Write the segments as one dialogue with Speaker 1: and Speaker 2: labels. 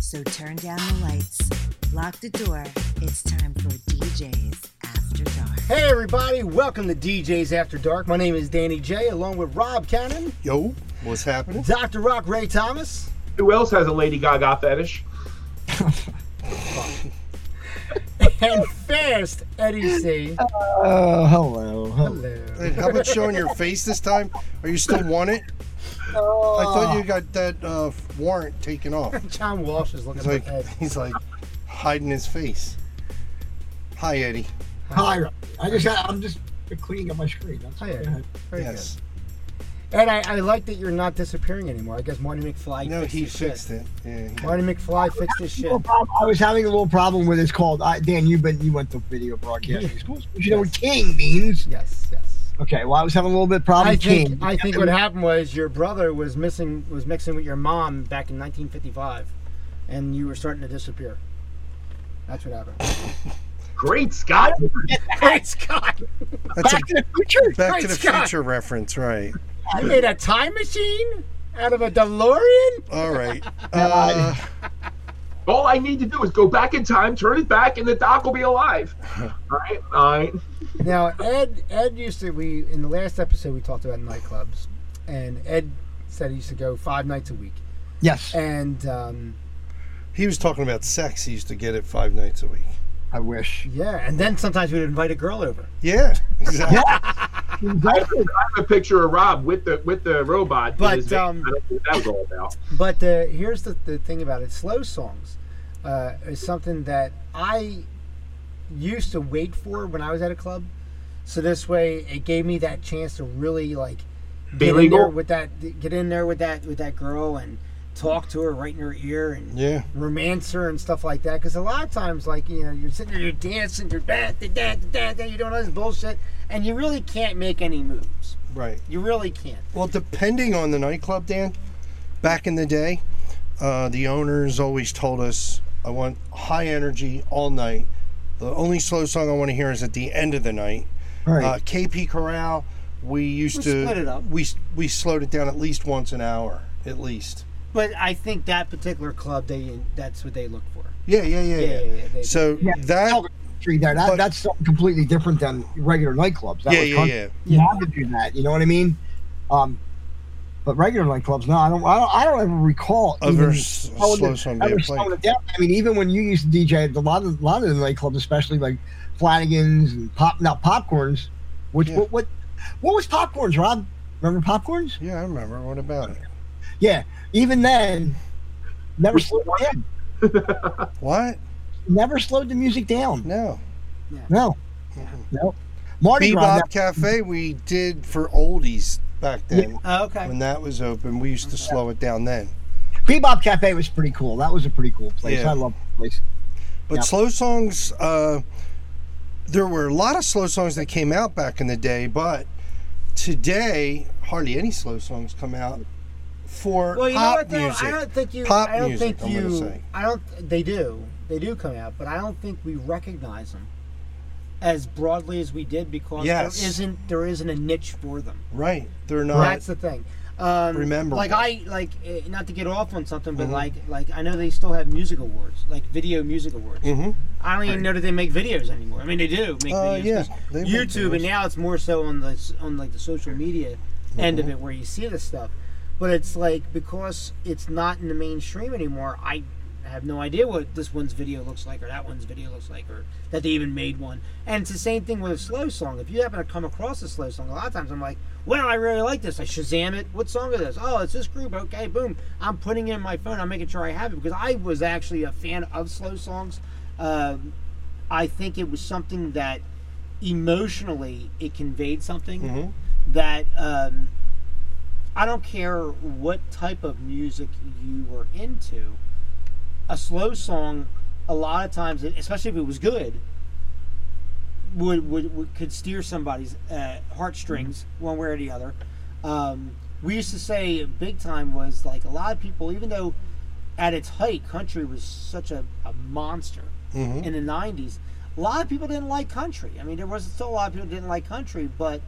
Speaker 1: So turn down the lights, lock the door. It's time for DJs After Dark.
Speaker 2: Hey everybody, welcome to DJs After Dark. My name is Danny J, along with Rob Cannon,
Speaker 3: Yo, what's happening?
Speaker 2: Dr. Rock Ray Thomas,
Speaker 4: Who else has a Lady Gaga fetish?
Speaker 2: and first Eddie C.
Speaker 3: Uh,
Speaker 5: Oh, hello. hello.
Speaker 3: Hey, how about showing your face this time? Are you still wanted? I
Speaker 2: Oh.
Speaker 3: thought you got that uh, warrant taken off.
Speaker 2: John Walsh is looking
Speaker 3: He's
Speaker 2: like
Speaker 3: like,
Speaker 2: Ed.
Speaker 3: he's like hiding his face. Hi, Eddie.
Speaker 6: Hi. I just had, I'm just cleaning up my screen. That's
Speaker 2: Hi,
Speaker 6: it.
Speaker 2: Eddie. Very
Speaker 3: yes.
Speaker 2: good. And I, I like that you're not disappearing anymore. I guess Marty McFly.
Speaker 3: no,
Speaker 2: fixed
Speaker 3: he
Speaker 2: his shit.
Speaker 3: fixed it. Yeah. he-
Speaker 2: Marty McFly fixed his shit.
Speaker 6: Little problem- I was having a little problem with it's called I, Dan. You've been you went to video broadcasting school, but you know what king means.
Speaker 2: Yes, yes.
Speaker 6: Okay, well I was having a little bit of problem
Speaker 2: I
Speaker 6: with king.
Speaker 2: think I think what happened was your brother was missing was mixing with your mom back in 1955, and you were starting to disappear. That's what happened.
Speaker 4: Great Scott!
Speaker 2: Great Scott!
Speaker 3: That's
Speaker 6: Back to the future.
Speaker 3: a Back to
Speaker 2: Great
Speaker 3: the
Speaker 2: Scott.
Speaker 3: Future reference, right?
Speaker 2: You made a time machine out of a DeLorean?
Speaker 3: All right. Uh,
Speaker 4: All I need to do is go back in time, turn it back, and the doc will be alive. All right, all right.
Speaker 2: Now Ed Ed used to we in the last episode we talked about nightclubs, and Ed said he used to go five nights a week,
Speaker 6: Yes,
Speaker 2: and um,
Speaker 3: he was talking about sex. He used to get it five nights a week.
Speaker 6: I wish.
Speaker 2: yeah, and then sometimes we'd invite a girl over.
Speaker 3: Yeah, exactly.
Speaker 4: I have a picture of Rob with the with the robot. in
Speaker 2: But,
Speaker 4: his van.
Speaker 2: um,
Speaker 4: I don't know what that was all about.
Speaker 2: But uh, here's the, the thing about it: slow songs uh, is something that I used to wait for when I was at a club. So this way, it gave me that chance to really like
Speaker 4: Be
Speaker 2: get in
Speaker 4: legal?
Speaker 2: there with that, get in there with that with that girl and talk to her right in her ear and
Speaker 3: Yeah.
Speaker 2: romance her and stuff like that. Because a lot of times, like you know, you're sitting there, you're dancing, you're da da da da da, you're doing all this bullshit, and you really can't make any moves.
Speaker 3: Right.
Speaker 2: You really can't.
Speaker 3: Well, depending on the nightclub, Dan, back in the day, uh, the owners always told us, I want high energy all night. The only slow song I want to hear is at the end of the night.
Speaker 6: All right.
Speaker 3: Uh, KP Corral, we used
Speaker 2: We
Speaker 3: to.
Speaker 2: split it up.
Speaker 3: We, we slowed it down at least once an hour, at least.
Speaker 2: But I think that particular club, they that's what they look for.
Speaker 3: Yeah, yeah, yeah.
Speaker 2: Yeah, yeah, yeah. Oh, They-
Speaker 3: So
Speaker 6: Yeah,
Speaker 3: that.
Speaker 6: Tree there. That,
Speaker 3: But-
Speaker 6: that's something completely different than regular nightclubs. That
Speaker 3: Yeah,
Speaker 6: was
Speaker 3: yeah,
Speaker 6: con-
Speaker 3: yeah.
Speaker 6: You had to do that. You know what I mean? Um, but regular nightclubs, no, I don't. I don't, I don't ever recall.
Speaker 3: Other
Speaker 6: even-
Speaker 3: s-
Speaker 6: I would-
Speaker 3: slow song
Speaker 6: I
Speaker 3: being
Speaker 6: was slowing
Speaker 3: played.
Speaker 6: it down. I mean, even when you used to DJ, a lot of a lot of the nightclubs, especially like Flanagan's and pop now popcorns, which
Speaker 3: Yeah.
Speaker 6: what, what what was popcorns, Rob? Remember popcorns?
Speaker 3: Yeah, I remember. What about it?
Speaker 6: Yeah. Even then, never
Speaker 4: Which
Speaker 6: slowed
Speaker 4: one?
Speaker 6: down,
Speaker 3: What?
Speaker 6: never slowed the music down.
Speaker 3: No.
Speaker 6: No.
Speaker 3: Mm-hmm.
Speaker 6: No. Mardi Gras.
Speaker 3: Bebop Cafe, we did for oldies back then.
Speaker 2: Oh, okay.
Speaker 3: when that was open, we used to slow it down then.
Speaker 6: Bebop Cafe was pretty cool. That was a pretty cool place.
Speaker 3: Yeah.
Speaker 6: I love that place.
Speaker 3: But
Speaker 6: Yeah.
Speaker 3: slow songs, uh, there were a lot of slow songs that came out back in the day, but today hardly any slow songs come out for
Speaker 2: Well, you know
Speaker 3: pop
Speaker 2: what though?
Speaker 3: music.
Speaker 2: I don't think you.
Speaker 3: Pop
Speaker 2: I don't
Speaker 3: music,
Speaker 2: think
Speaker 3: I'm gonna
Speaker 2: you.
Speaker 3: say.
Speaker 2: I don't. They do. They do come out, but I don't think we recognize them as broadly as we did because
Speaker 3: Yes.
Speaker 2: there isn't there isn't a niche for them.
Speaker 3: right? They're not.
Speaker 2: That's the thing. Um,
Speaker 3: Rememberable.
Speaker 2: like I like eh, not to get off on something,
Speaker 3: Mm-hmm.
Speaker 2: but like like I know they still have music awards, like video music awards.
Speaker 3: Mhm.
Speaker 2: I don't even know that they make videos anymore. I mean, they do make
Speaker 3: Uh,
Speaker 2: videos.
Speaker 3: yeah,
Speaker 2: 'cause
Speaker 3: they make
Speaker 2: YouTube,
Speaker 3: videos.
Speaker 2: and now it's more so on the s- on like the social media end
Speaker 3: Mm-hmm.
Speaker 2: of it where you see this stuff. But it's like because it's not in the mainstream anymore. I have no idea what this one's video looks like, or that one's video looks like, or that they even made one. And it's the same thing with a slow song. If you happen to come across a slow song, a lot of times I'm like, "Wow, I really like this." I Shazam it. What song is this? Oh, it's this group. Okay, boom. I'm putting it in my phone. I'm making sure I have it because I was actually a fan of slow songs. Um, I think it was something that emotionally it conveyed something
Speaker 3: Mhm.
Speaker 2: that um, I don't care what type of music you were into. A slow song, a lot of times, especially if it was good, would, would, would could steer somebody's uh, heartstrings one way or the other. Um, we used to say big time was like a lot of people, even though at its height, country was such a, a monster
Speaker 3: Mhm.
Speaker 2: in the 90s. A lot of people didn't like country. I mean, there was still a lot of people didn't like country, but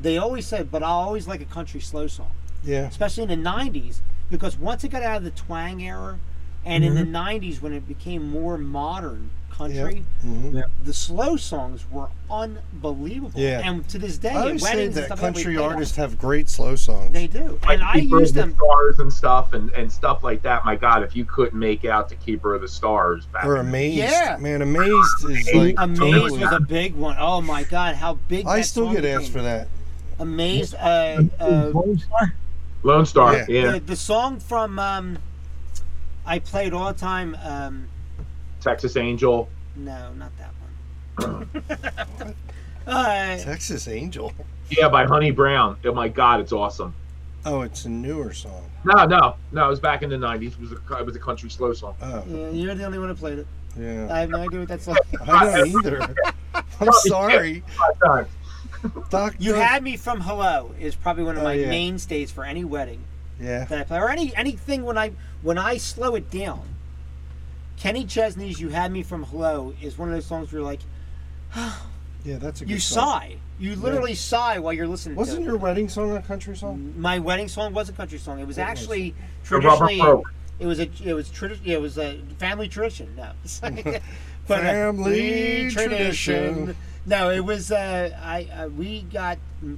Speaker 2: they always said, but I always like a country slow song,
Speaker 3: Yeah,
Speaker 2: especially in the 90s, because once it got out of the twang era And
Speaker 3: Mm-hmm.
Speaker 2: in the 90s, when it became more modern country,
Speaker 3: Mhm.
Speaker 2: the slow songs were unbelievable.
Speaker 3: Yeah.
Speaker 2: And to this day,
Speaker 3: I
Speaker 2: at
Speaker 3: always say
Speaker 2: weddings and
Speaker 3: that
Speaker 2: stuff like that, we
Speaker 3: country
Speaker 2: play that.
Speaker 3: artists have great slow songs.
Speaker 2: They do.
Speaker 4: Like
Speaker 2: And I
Speaker 4: Keeper
Speaker 2: use
Speaker 4: of
Speaker 2: them.
Speaker 4: the stars and stuff and, and stuff like that. My God, if you couldn't make out the Keeper of the Stars back,
Speaker 3: We're amazed.
Speaker 2: Yeah.
Speaker 3: Man, amazed is like.
Speaker 2: Amazed
Speaker 3: totally-
Speaker 2: was a big one. Oh my God, how big!
Speaker 3: I
Speaker 2: that
Speaker 3: still
Speaker 2: song
Speaker 3: get asked
Speaker 2: became.
Speaker 3: for that.
Speaker 2: Amazed. Uh, uh,
Speaker 6: Lone Star?
Speaker 4: Lone Star,
Speaker 3: Yeah.
Speaker 4: yeah,
Speaker 2: the, the song from um, I played all the time. Um,
Speaker 4: Texas Angel.
Speaker 2: no, not that one. uh,
Speaker 3: Texas Angel.
Speaker 4: Yeah, by Honey Brown. Oh my God, it's awesome.
Speaker 3: Oh, it's a newer song.
Speaker 4: No, no, no. It was back in the '90s. It was a, it was a country slow song.
Speaker 3: Oh,
Speaker 2: yeah, you're the only one who played it.
Speaker 3: yeah.
Speaker 2: I have no idea what that song.
Speaker 3: I don't either. I'm sorry.
Speaker 4: Five times.
Speaker 3: Doc,
Speaker 2: You
Speaker 3: Doc-
Speaker 2: had me from Hello is probably one of my
Speaker 3: Oh, yeah.
Speaker 2: mainstays for any wedding.
Speaker 3: Yeah.
Speaker 2: that I play, or any anything when I when I slow it down. Kenny Chesney's "You Had Me from Hello" is one of those songs where you're like,
Speaker 3: Yeah, that's a good
Speaker 2: you
Speaker 3: song.
Speaker 2: sigh, you literally sigh while you're listening.
Speaker 3: Wasn't
Speaker 2: to
Speaker 3: your wedding song a country
Speaker 2: it.
Speaker 3: song?
Speaker 2: my wedding song was a country song? It was
Speaker 3: What was
Speaker 2: actually
Speaker 4: The Rubber
Speaker 2: traditionally
Speaker 4: Folk.
Speaker 2: it was a it was tradi- it was a family tradition. No, but uh,
Speaker 3: Family tradition.
Speaker 2: No, it was uh, I uh, we got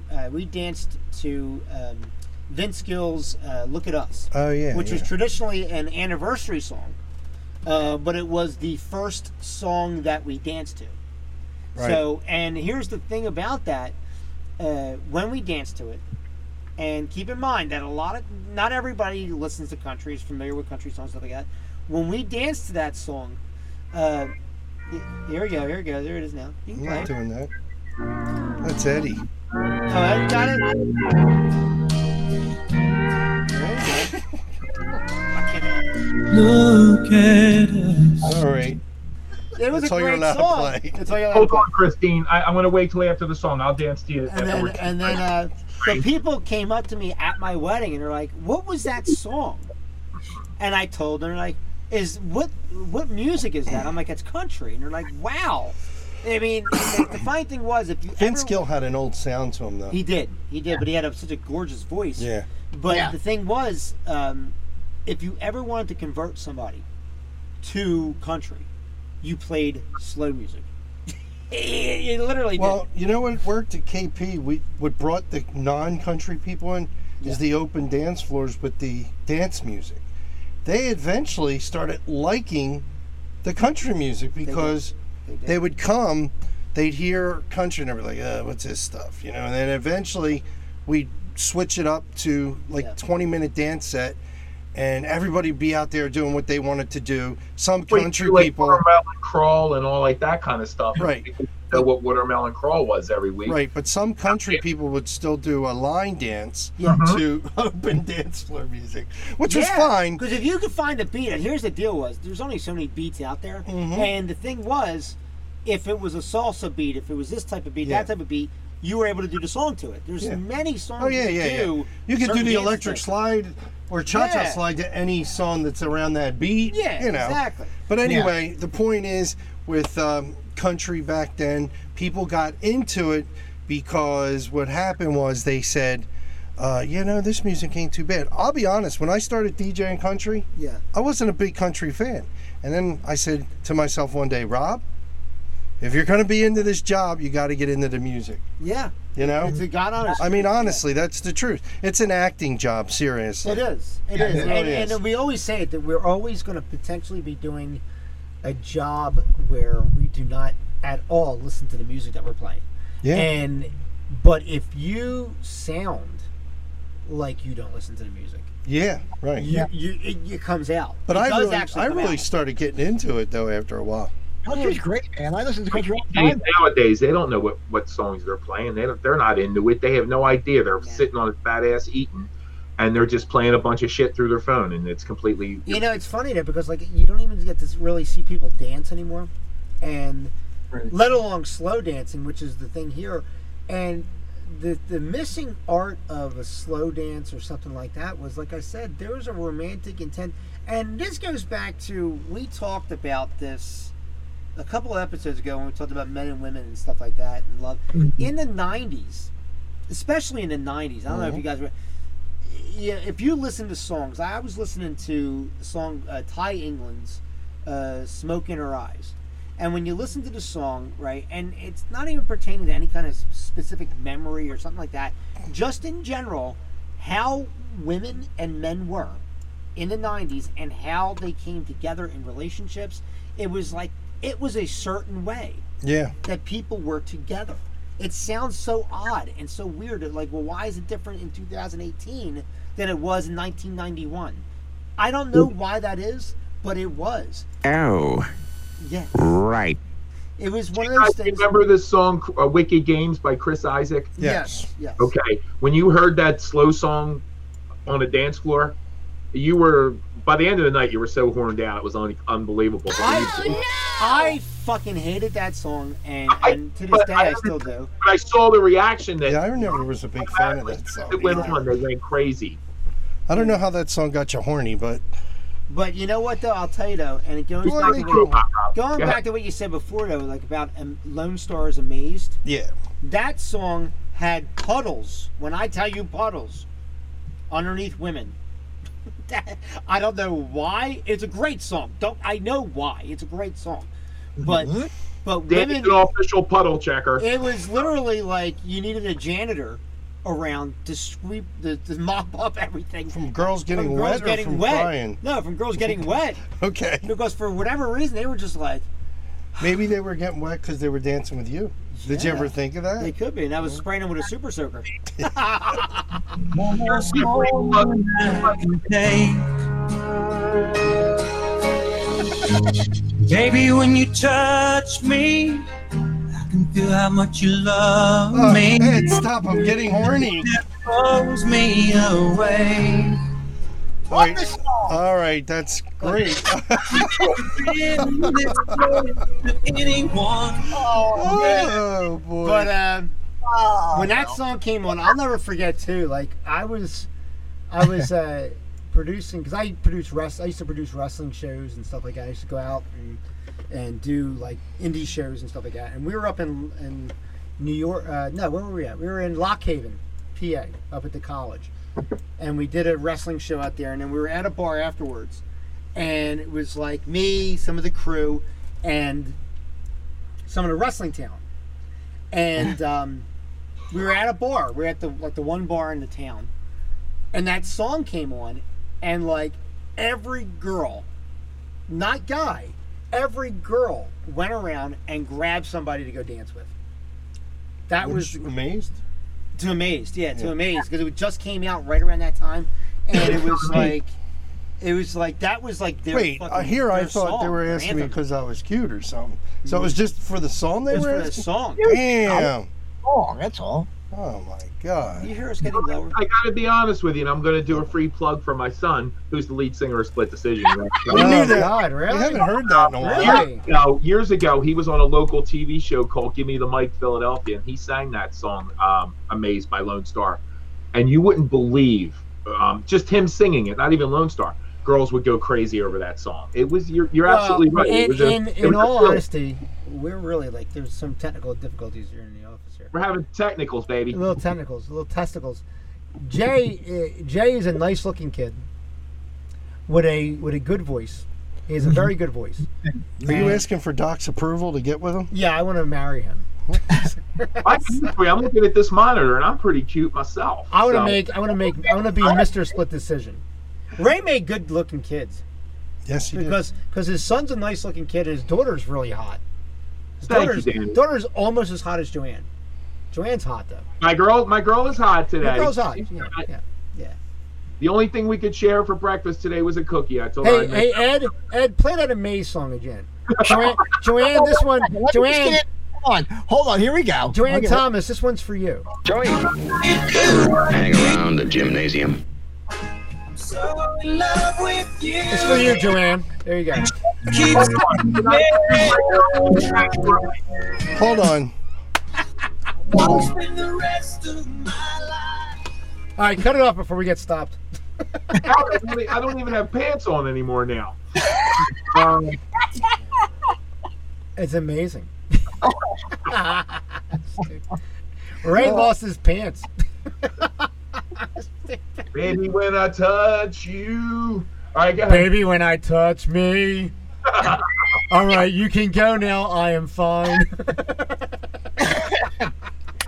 Speaker 2: uh, we danced to um, Vince Gill's uh, "Look at Us."
Speaker 3: Oh, yeah.
Speaker 2: which
Speaker 3: yeah.
Speaker 2: was traditionally an anniversary song, uh, but it was the first song that we danced to.
Speaker 3: Right.
Speaker 2: So, and here's the thing about that: uh, when we dance to it, and keep in mind that a lot of not everybody who listens to country is familiar with country songs stuff like that. When we dance to that song, uh, y- here we go, here we go, there it is now. You can
Speaker 3: I'm
Speaker 2: play.
Speaker 3: not
Speaker 2: it.
Speaker 3: doing that. That's Eddie.
Speaker 2: Oh, I got it. There you go.
Speaker 7: Look at us.
Speaker 3: All right.
Speaker 2: It was
Speaker 3: That's
Speaker 2: a
Speaker 3: all you're
Speaker 2: great
Speaker 3: allowed to
Speaker 2: song.
Speaker 3: play.
Speaker 2: That's all you're allowed to
Speaker 4: Hold
Speaker 2: play.
Speaker 4: on, Christine. I, I'm gonna wait till after the song. I'll dance to you.
Speaker 2: and then
Speaker 4: afterwards.
Speaker 2: and then uh, the people came up to me at my wedding and they're like, "What was that song?" And I told them like, "Is what what music is that?" I'm like, "It's country," and they're like, "Wow." I mean, the, the funny thing was if you
Speaker 3: Vince
Speaker 2: ever-
Speaker 3: Gill had an old sound to him, though.
Speaker 2: he did he did, but he had a, such a gorgeous voice.
Speaker 3: yeah.
Speaker 2: But
Speaker 6: Yeah.
Speaker 2: the thing was, um, if you ever wanted to convert somebody to country, you played slow music. You literally did.
Speaker 3: Well, you know what worked at KP? We what brought the non-country people in is the open dance floors with the dance music. They eventually started liking the country music because they,
Speaker 2: did.
Speaker 3: would come, they'd hear country and they'd be like, uh, "What's this stuff?" You know, and then eventually we'd switch it up to like
Speaker 2: Yeah.
Speaker 3: 20-minute dance set. And everybody'd be out there doing what they wanted to do. Some
Speaker 4: Wait,
Speaker 3: country
Speaker 4: do, like,
Speaker 3: people,
Speaker 4: watermelon crawl and all like that kind of stuff.
Speaker 3: Right.
Speaker 4: People Know what watermelon crawl was every week.
Speaker 3: Right, but some country people would still do a line dance
Speaker 2: Yeah. Uh-huh.
Speaker 3: to open dance floor music, which was
Speaker 2: Yeah,
Speaker 3: fine.
Speaker 2: Because if you could find a beat, and here's the deal: was there's only so many beats out there,
Speaker 3: Mhm.
Speaker 2: and the thing was, if it was a salsa beat, if it was this type of beat,
Speaker 3: Yeah.
Speaker 2: that type of beat, you were able to do the song to it. There's
Speaker 3: Yeah.
Speaker 2: many songs.
Speaker 3: Oh yeah,
Speaker 2: you
Speaker 3: yeah,
Speaker 2: can do
Speaker 3: yeah. You could do
Speaker 2: certain
Speaker 3: the
Speaker 2: dances
Speaker 3: electric
Speaker 2: to.
Speaker 3: slide or cha-cha
Speaker 2: Yeah.
Speaker 3: slide to any song that's around that beat.
Speaker 2: Yeah,
Speaker 3: you know.
Speaker 2: exactly.
Speaker 3: But anyway, the point is with um, country back then, people got into it because what happened was they said, uh, you know, this music ain't too bad. I'll be honest, when I started DJing country,
Speaker 2: Yeah.
Speaker 3: I wasn't a big country fan. And then I said to myself one day, Rob, if you're going to be into this job, you got to get into the music.
Speaker 2: Yeah.
Speaker 3: You know?
Speaker 2: It's a god honest.
Speaker 3: I mean, honestly, that's the truth. It's an acting job, seriously.
Speaker 2: It is. It
Speaker 6: Yeah,
Speaker 2: is.
Speaker 6: it
Speaker 2: And,
Speaker 3: really is.
Speaker 2: and we always say it that we're always going to potentially be doing a job where we do not at all listen to the music that we're playing.
Speaker 3: Yeah.
Speaker 2: And but if you sound like you don't listen to the music,
Speaker 3: yeah, right.
Speaker 2: you, you it, it comes out.
Speaker 3: But
Speaker 2: it
Speaker 3: I
Speaker 2: does
Speaker 3: really,
Speaker 2: actually
Speaker 3: I
Speaker 2: come
Speaker 3: really
Speaker 2: out.
Speaker 3: started getting into it though after a while.
Speaker 6: Country's great, man. I listen to country all the
Speaker 4: Geez,
Speaker 6: time.
Speaker 4: nowadays they don't know what, what songs they're playing. They don't, they're not into it. They have no idea. They're
Speaker 2: Yeah.
Speaker 4: sitting on a fat ass eating, and they're just playing a bunch of shit through their phone, and it's completely.
Speaker 2: You know, it's funny there because like you don't even get to really see people dance anymore, and
Speaker 5: Right.
Speaker 2: let alone slow dancing, which is the thing here, and the the missing art of a slow dance or something like that was like I said, there was a romantic intent, and this goes back to we talked about this a couple of episodes ago when we talked about men and women and stuff like that and love in the '90s, especially in the '90s. I don't know if you guys were. yeah, if you listen to songs, I was listening to the song uh, Ty England's uh, "Smoke in Her Eyes," and when you listen to the song, right, and it's not even pertaining to any kind of specific memory or something like that, just in general, how women and men were in the '90s and how they came together in relationships, it was like it was a certain way
Speaker 3: Yeah.
Speaker 2: that people were together. It sounds so odd and so weird. Like, well, why is it different in 2018 than it was in 1991? I don't know why that is, but it was.
Speaker 8: Oh,
Speaker 2: Yeah,
Speaker 8: right.
Speaker 2: it was one of
Speaker 4: I
Speaker 2: those things.
Speaker 4: remember this song, uh, Wicked Games by Chris Isaac.
Speaker 3: Yes.
Speaker 2: Yes. yes.
Speaker 4: Okay, when you heard that slow song on a dance floor, you were by the end of the night you were so horned out it was un- unbelievable.
Speaker 2: I, I fucking hated that song, and,
Speaker 4: I-
Speaker 2: and to this
Speaker 4: but
Speaker 2: day
Speaker 4: I
Speaker 2: I still do.
Speaker 4: But I saw the reaction that
Speaker 3: Yeah, I never was a big fan of that song.
Speaker 4: it went
Speaker 3: either.
Speaker 4: on. They went crazy.
Speaker 3: I don't know how that song got you horny, but
Speaker 2: But you know what though? I'll tell you though, and it goes
Speaker 3: Well,
Speaker 2: back
Speaker 3: I
Speaker 2: to
Speaker 3: mean,
Speaker 2: what, going
Speaker 4: uh, Go
Speaker 2: back to what you said before though, like about um, Lone Star is amazed.
Speaker 3: yeah.
Speaker 2: That song had puddles. When I tell you puddles, underneath women. That- I don't know why. It's a great song. Don't I know why? It's a great song, but
Speaker 3: Mm-hmm.
Speaker 2: but
Speaker 4: Danny's
Speaker 2: women.
Speaker 4: an official puddle checker.
Speaker 2: It was literally like you needed a janitor around to sweep the to mop up everything
Speaker 3: From girls getting
Speaker 2: from
Speaker 3: wet
Speaker 2: girls
Speaker 3: or
Speaker 2: getting
Speaker 3: from
Speaker 2: wet.
Speaker 3: crying.
Speaker 2: No, from girls getting wet
Speaker 3: Okay.
Speaker 2: because for whatever reason they were just like
Speaker 3: Maybe they were getting wet because they were dancing with you. Did you
Speaker 2: Yeah.
Speaker 3: ever think of that?
Speaker 2: they could be, and I was spraying them with a super soaker. Oh,
Speaker 7: Baby, when you touch me, I can feel how much you love
Speaker 3: oh,
Speaker 7: me.
Speaker 3: Ed, stop! I'm getting horny.
Speaker 7: Blows me away.
Speaker 3: All right, all right that's great.
Speaker 7: Been this close to anyone.
Speaker 3: oh boy!
Speaker 2: But um, when that song came on, I'll never forget too. Like I was, I was uh, producing because I produced rest. I used to produce wrestling shows and stuff like that. I used to go out and and do like indie shows and stuff like that. And we were up in in New York. Uh, no, where were we at? We were in Lock Haven, PA, up at the college, and we did a wrestling show out there. And then we were at a bar afterwards, and it was like me, some of the crew, and some of the wrestling talent and um, we were at a bar. We were at the like the one bar in the town, and that song came on, and like every girl, not guy, every girl went around and grabbed somebody to go dance with. That
Speaker 3: I was
Speaker 2: was
Speaker 3: amazed.
Speaker 2: to amazed, yeah, to
Speaker 3: Yeah.
Speaker 2: amazed because it just came out right around that time, and it was like. It was like that was like their
Speaker 3: Wait, uh,
Speaker 2: fucking-
Speaker 3: here I
Speaker 2: their
Speaker 3: thought they
Speaker 2: song,
Speaker 3: were
Speaker 2: their
Speaker 3: asking me
Speaker 2: anthem.
Speaker 3: because I was cute or something. So it was just for the song they
Speaker 2: It was
Speaker 3: were
Speaker 2: for the
Speaker 3: asking.
Speaker 2: song.
Speaker 3: Damn!
Speaker 6: Wrong, that's all.
Speaker 3: Oh my god!
Speaker 2: You hear us getting lower?
Speaker 4: I gotta be honest with you, and I'm gonna do a free plug for my son, who's the lead singer of Split Decision.
Speaker 3: We knew that.
Speaker 2: Oh, God,
Speaker 3: I
Speaker 2: really?
Speaker 3: haven't heard that in a while.
Speaker 2: Really?
Speaker 4: years ago, years ago, he was on a local TV show called "Give Me the Mic, Philadelphia," and he sang that song um, "Amazed" by Lone Star. And you wouldn't believe um, just him singing it. Not even Lone Star. Girls would go crazy over that song. It was you're, you're absolutely
Speaker 2: Well,
Speaker 4: right. It
Speaker 2: In,
Speaker 4: was a-
Speaker 2: in,
Speaker 4: it
Speaker 2: in
Speaker 4: was a
Speaker 2: all
Speaker 4: thrill.
Speaker 2: honesty, we're really like there's some technical difficulties here in the office here.
Speaker 4: we're having technicals, baby.
Speaker 2: Little tentacles, little testicles. Jay uh, Jay is a nice looking kid with a with a good voice. He has a very good voice.
Speaker 3: Are you asking for Doc's approval to get with him?
Speaker 2: Yeah, I want to marry him.
Speaker 4: I, am looking at this monitor, and I'm pretty cute myself.
Speaker 2: I want to
Speaker 4: so-
Speaker 2: make. I want to make. I want to be Mr. Split Decision. Ray made good looking kids
Speaker 3: Yes, he did.
Speaker 2: because because his son's a nice looking kid and his daughter's really hot. His
Speaker 4: Thank you,
Speaker 2: daughter's,
Speaker 4: Danny.
Speaker 2: daughter's almost as hot as Joanne. Joanne's hot though.
Speaker 4: my girl. My girl is hot today.
Speaker 2: Your girl's hot.
Speaker 4: She's
Speaker 2: Yeah,
Speaker 4: hot.
Speaker 2: yeah.
Speaker 4: The only thing we could share for breakfast today was a cookie. I told her.
Speaker 2: Hey,
Speaker 4: I'd make-
Speaker 2: hey, Ed, Ed, play that Amaze song again. Joanne, Joanne this one,
Speaker 6: Let me just
Speaker 2: Joanne,
Speaker 6: get- Hold on, hold on. Here we go.
Speaker 2: Joanne
Speaker 6: Okay.
Speaker 2: Thomas, this one's for you.
Speaker 5: Joey.
Speaker 9: Hang around the gymnasium.
Speaker 7: So in love with you.
Speaker 2: It's for you, Joanne. There you go.
Speaker 7: Keeps
Speaker 3: Hold on.
Speaker 7: spending the rest of my life.
Speaker 2: All right, cut it off before we get stopped.
Speaker 4: I don't really- I don't even have pants on anymore now. Um,
Speaker 2: It's amazing.
Speaker 8: Uh,
Speaker 2: Ray lost his pants.
Speaker 4: Baby, when I touch you. All right, go ahead.
Speaker 8: Baby, when I touch me. All right, you can go now. I am fine.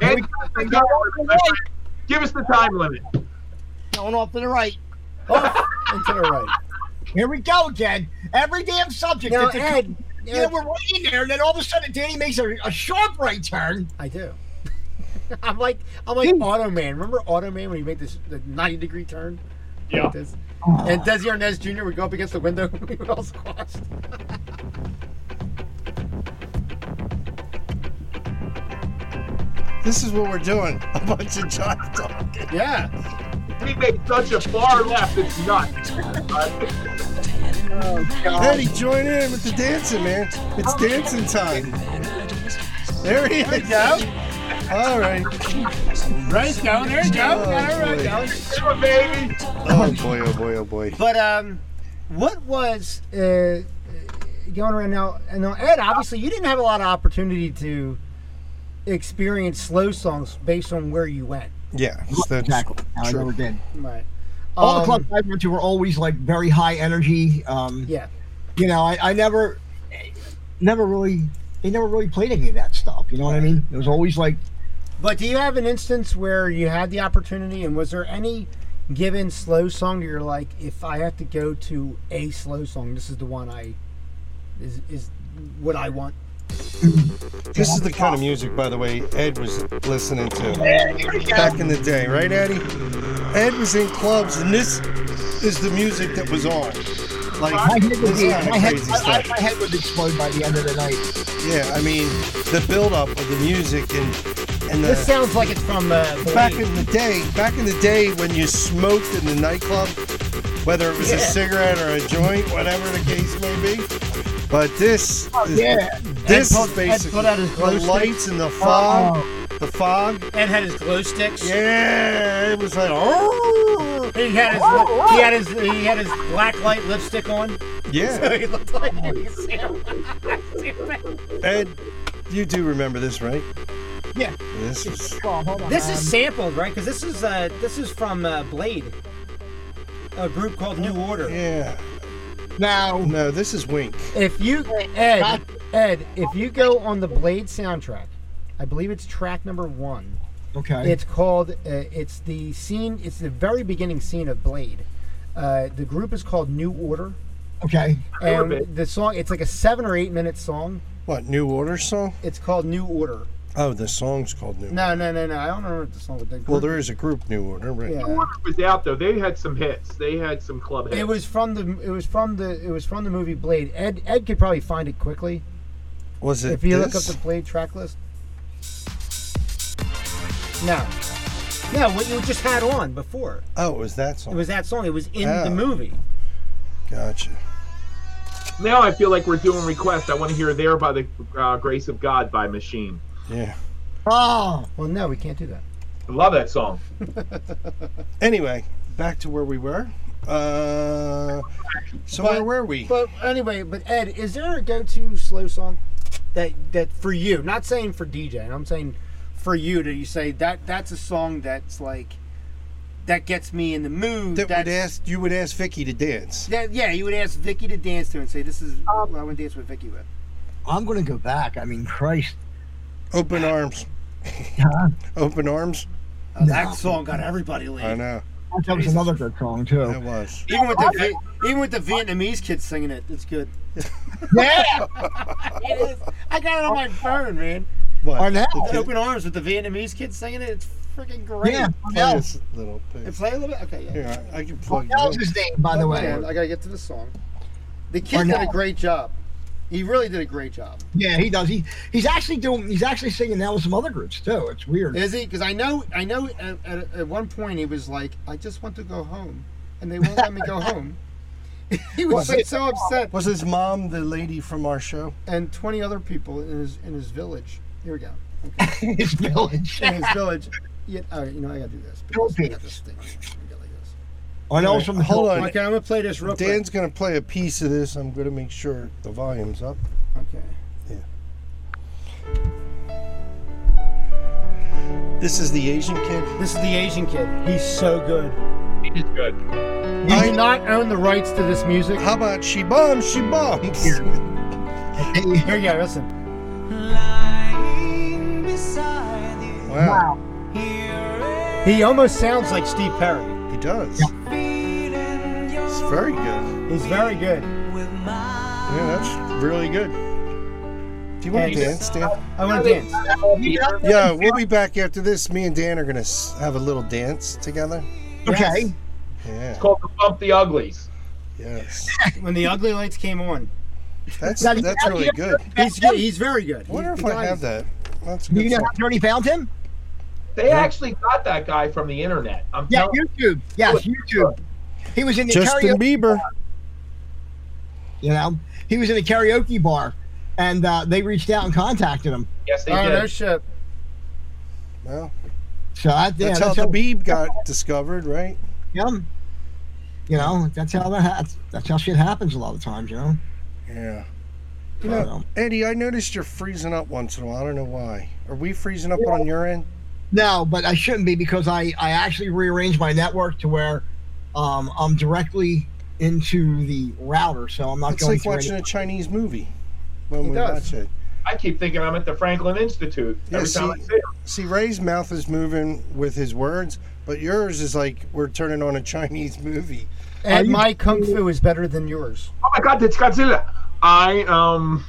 Speaker 4: And- go on, my friend. Give us the time limit.
Speaker 2: Going off to the right.
Speaker 8: Off and to the right.
Speaker 6: Here we go, Jed. Every damn subject.
Speaker 2: Now,
Speaker 6: it's a-
Speaker 2: Ed,
Speaker 6: you know, we're right in there, and then all of a sudden, Danny makes a, a sharp right turn.
Speaker 2: I do. I'm like I'm like Automan. Remember Automan when he made this the 90 degree turn? Yeah. this. And Desi Arnaz Jr. would go up against the window. we would all squash.
Speaker 3: This is what we're doing. A bunch of jive talking.
Speaker 2: Yeah.
Speaker 4: We made such a far left, it's nuts. Uh,
Speaker 2: Oh,
Speaker 3: Eddie, join in with the dancing, man. It's dancing time. There he is. All right.
Speaker 8: Right, go. There you go.
Speaker 3: Oh, boy.
Speaker 4: Come on, baby.
Speaker 3: oh boy, oh boy, oh boy.
Speaker 2: But um, what was uh, uh, going around now? And now, Ed, obviously, you didn't have a lot of opportunity to experience slow songs based on where you went.
Speaker 3: Yeah, that's
Speaker 6: Exactly. I
Speaker 3: true.
Speaker 6: never did.
Speaker 2: Right. Um,
Speaker 6: All the clubs I went to were always like very high energy. Um,
Speaker 2: Yeah.
Speaker 6: You know, I, I never, never really, they never really played any of that stuff. You know what I mean? It was always like,
Speaker 2: But do you have an instance where you had the opportunity, and was there any given slow song that you're like, if I have to go to a slow song, this is the one I is is what I want.
Speaker 3: This is the kind of music, by the way, Ed was listening to back in the day, right, Eddie? Ed was in clubs, and this is the music that was on.
Speaker 6: my
Speaker 3: Like
Speaker 6: head would
Speaker 3: this
Speaker 6: be,
Speaker 3: kind
Speaker 6: my
Speaker 3: of
Speaker 6: head,
Speaker 3: crazy
Speaker 6: I, I,
Speaker 3: stuff.
Speaker 6: my head would explode by the end of the night.
Speaker 3: Yeah, I mean the build-up of the music and and
Speaker 2: This
Speaker 3: the
Speaker 2: sounds like it's from uh, the
Speaker 3: back
Speaker 2: late-
Speaker 3: in the day. Back in the day when you smoked in the nightclub, whether it was a cigarette or a joint, whatever the case may be. But this, is,
Speaker 6: yeah.
Speaker 3: this
Speaker 2: Oh, Ed put-
Speaker 3: is
Speaker 2: Ed
Speaker 3: basically
Speaker 2: put out his glow
Speaker 3: the
Speaker 2: stick.
Speaker 3: lights and the fog, the fog.
Speaker 2: Ed had his glow sticks.
Speaker 3: Yeah, it was like, oh,
Speaker 2: He had his li- he had his he had his black light lipstick on.
Speaker 3: yeah.
Speaker 2: he looked like he was Sam.
Speaker 3: Ed, you do remember this, right?
Speaker 6: Yeah.
Speaker 3: This is
Speaker 6: Oh, hold on.
Speaker 2: This is
Speaker 6: Um,
Speaker 2: sampled, right? Because this is uh this is from uh, Blade, a group called New Order.
Speaker 3: yeah.
Speaker 6: now.
Speaker 3: No, this is Wink.
Speaker 2: If you Ed Ed, if you go on the Blade soundtrack, I believe it's track number one.
Speaker 6: Okay.
Speaker 2: It's called. Uh, it's the scene. It's the very beginning scene of Blade. Uh, the group is called New Order,
Speaker 6: okay.
Speaker 2: and the song. It's like a seven or eight minute song.
Speaker 3: What New Order song?
Speaker 2: It's called New Order.
Speaker 3: Oh, the song's called New. Order.
Speaker 2: No, no, no, no. I don't remember the song. But the
Speaker 3: Well,
Speaker 2: group,
Speaker 3: there is a group New Order, right?
Speaker 2: Yeah.
Speaker 4: Warner was out though. They had some hits. They had some club hits.
Speaker 2: It was from the. It was from the. It was from the movie Blade. Ed Ed could probably find it quickly
Speaker 3: Was it
Speaker 2: if you look up
Speaker 3: this?
Speaker 2: the Blade track list. No. No, what you just had on before.
Speaker 3: Oh, it was that
Speaker 2: It
Speaker 3: song.
Speaker 2: was that song. It was in
Speaker 3: Oh.
Speaker 2: the movie.
Speaker 3: Gotcha.
Speaker 4: now I feel like we're doing requests. I want to hear "There by the uh, Grace of God" by Machine.
Speaker 3: Yeah.
Speaker 6: Oh,
Speaker 2: Well, no, we can't do that.
Speaker 4: I love that song.
Speaker 3: Anyway, back to where we were. Uh, so
Speaker 2: But-
Speaker 3: where were we?
Speaker 2: But anyway, but Ed, is there a go-to slow song that that for you? Not saying for DJ, and I'm saying for you. Do you say that that's a song that's like that gets me in the mood?
Speaker 3: that would
Speaker 2: that's-
Speaker 3: ask you would ask Vicky to dance.
Speaker 2: That, yeah, you would ask Vicky to dance to and say, "This is what I want to dance with Vicky with."
Speaker 6: I'm gonna go back. I mean, Christ.
Speaker 3: Open arms.
Speaker 6: Huh?
Speaker 3: Open arms.
Speaker 2: Uh, That
Speaker 6: No.
Speaker 2: song got everybody
Speaker 3: I
Speaker 2: laid.
Speaker 3: know.
Speaker 6: That was another good song
Speaker 3: It
Speaker 6: too.
Speaker 3: was.
Speaker 2: Even with the Vi- even with the Vietnamese kids singing it, it's good.
Speaker 6: Yeah.
Speaker 2: It is. I got it on my phone, man.
Speaker 3: What?
Speaker 6: Arnell.
Speaker 3: The kid-
Speaker 2: Open arms with the Vietnamese kids singing it. It's freaking great.
Speaker 6: Yeah.
Speaker 3: play
Speaker 6: Arnell.
Speaker 3: this little thing.
Speaker 2: Play a little bit. Okay, yeah.
Speaker 3: Here, I, I can plug
Speaker 6: Arnell's
Speaker 3: it in.
Speaker 6: his name, by the way.
Speaker 2: Man, I gotta get to the song. The kid did a
Speaker 6: now.
Speaker 2: great job. He really did a great job.
Speaker 6: Yeah, he does. He he's actually doing. He's actually singing now with some other groups too. It's weird.
Speaker 2: Is he? Because I know, I know. At, at, at one point, he was like, "I just want to go home," and they won't let me go home. he was like, so upset.
Speaker 3: Was his mom the lady from our show?
Speaker 2: And twenty other people in his in his village. Here we go.
Speaker 6: His village.
Speaker 2: In his village. Yeah, all right, you know, I gotta do this. because I got this thing. I got like this.
Speaker 6: I know some.
Speaker 3: Hold on.
Speaker 2: Okay, I'm gonna play this real quick.
Speaker 3: Dan's gonna play a piece of this. I'm gonna make sure the volume's up.
Speaker 2: Okay.
Speaker 3: This is the Asian kid.
Speaker 2: This is the Asian kid. He's so good.
Speaker 4: He's good.
Speaker 2: We do not own the rights to this music.
Speaker 3: How about she bombs? She bombs.
Speaker 2: Here you go, listen.
Speaker 7: Lying beside you,
Speaker 3: Wow,
Speaker 7: here
Speaker 2: He almost sounds like
Speaker 10: Steve Perry.
Speaker 3: he does.
Speaker 7: feeling your
Speaker 3: It's very good.
Speaker 2: he's very good.
Speaker 7: with mine.
Speaker 3: Yeah, that's really good. Do you want to
Speaker 2: Hey,
Speaker 3: dance,
Speaker 6: uh,
Speaker 3: Dan?
Speaker 2: I want to dance.
Speaker 3: Yeah, we'll be back after this. Me and Dan are gonna s- have a little dance together.
Speaker 6: Okay.
Speaker 3: Yeah.
Speaker 4: Called the Bump the Uglies.
Speaker 3: Yes.
Speaker 10: When the ugly lights came on,
Speaker 3: That's
Speaker 6: Now, do you
Speaker 3: that's
Speaker 6: have-
Speaker 3: really good.
Speaker 10: he's good. He's very good.
Speaker 3: I wonder
Speaker 10: He's
Speaker 3: if
Speaker 10: the
Speaker 3: I
Speaker 10: guy
Speaker 3: have
Speaker 10: is-
Speaker 3: that. That's
Speaker 6: Do you
Speaker 3: good.
Speaker 6: know
Speaker 3: stuff.
Speaker 6: how Tony found him?
Speaker 4: They actually got that guy from the internet. I'm
Speaker 6: Yeah,
Speaker 4: telling
Speaker 6: YouTube. Yes, YouTube. He was in the
Speaker 3: Justin
Speaker 6: karaoke.
Speaker 3: Bieber.
Speaker 6: You know, he was in a karaoke bar, and uh, they reached out and contacted him.
Speaker 4: Yes, they
Speaker 2: Oh,
Speaker 4: did.
Speaker 2: no shit.
Speaker 3: Well,
Speaker 6: So that, yeah,
Speaker 3: that's how the Beeb got discovered, right?
Speaker 6: yeah. You know, that's how that ha- that's how shit happens a lot of times. You know.
Speaker 3: Yeah. You know, Eddie, I noticed you're freezing up once in a while. I don't know why. Are we freezing up on your end?
Speaker 6: No, but I shouldn't be because I, I actually rearranged my network to where um, I'm directly into the router, so I'm not
Speaker 3: It's
Speaker 6: going
Speaker 3: like
Speaker 6: through
Speaker 3: watching
Speaker 6: any-
Speaker 3: a Chinese movie when
Speaker 10: It
Speaker 3: we
Speaker 10: does.
Speaker 3: watch it.
Speaker 4: I keep thinking I'm at the Franklin Institute
Speaker 3: Yeah,
Speaker 4: every time I
Speaker 3: see-
Speaker 4: see him.
Speaker 3: See, Ray's mouth is moving with his words, but yours is like we're turning on a Chinese movie.
Speaker 2: And
Speaker 6: you-
Speaker 2: my kung fu is better than yours.
Speaker 4: Oh my God, it's Godzilla. I um.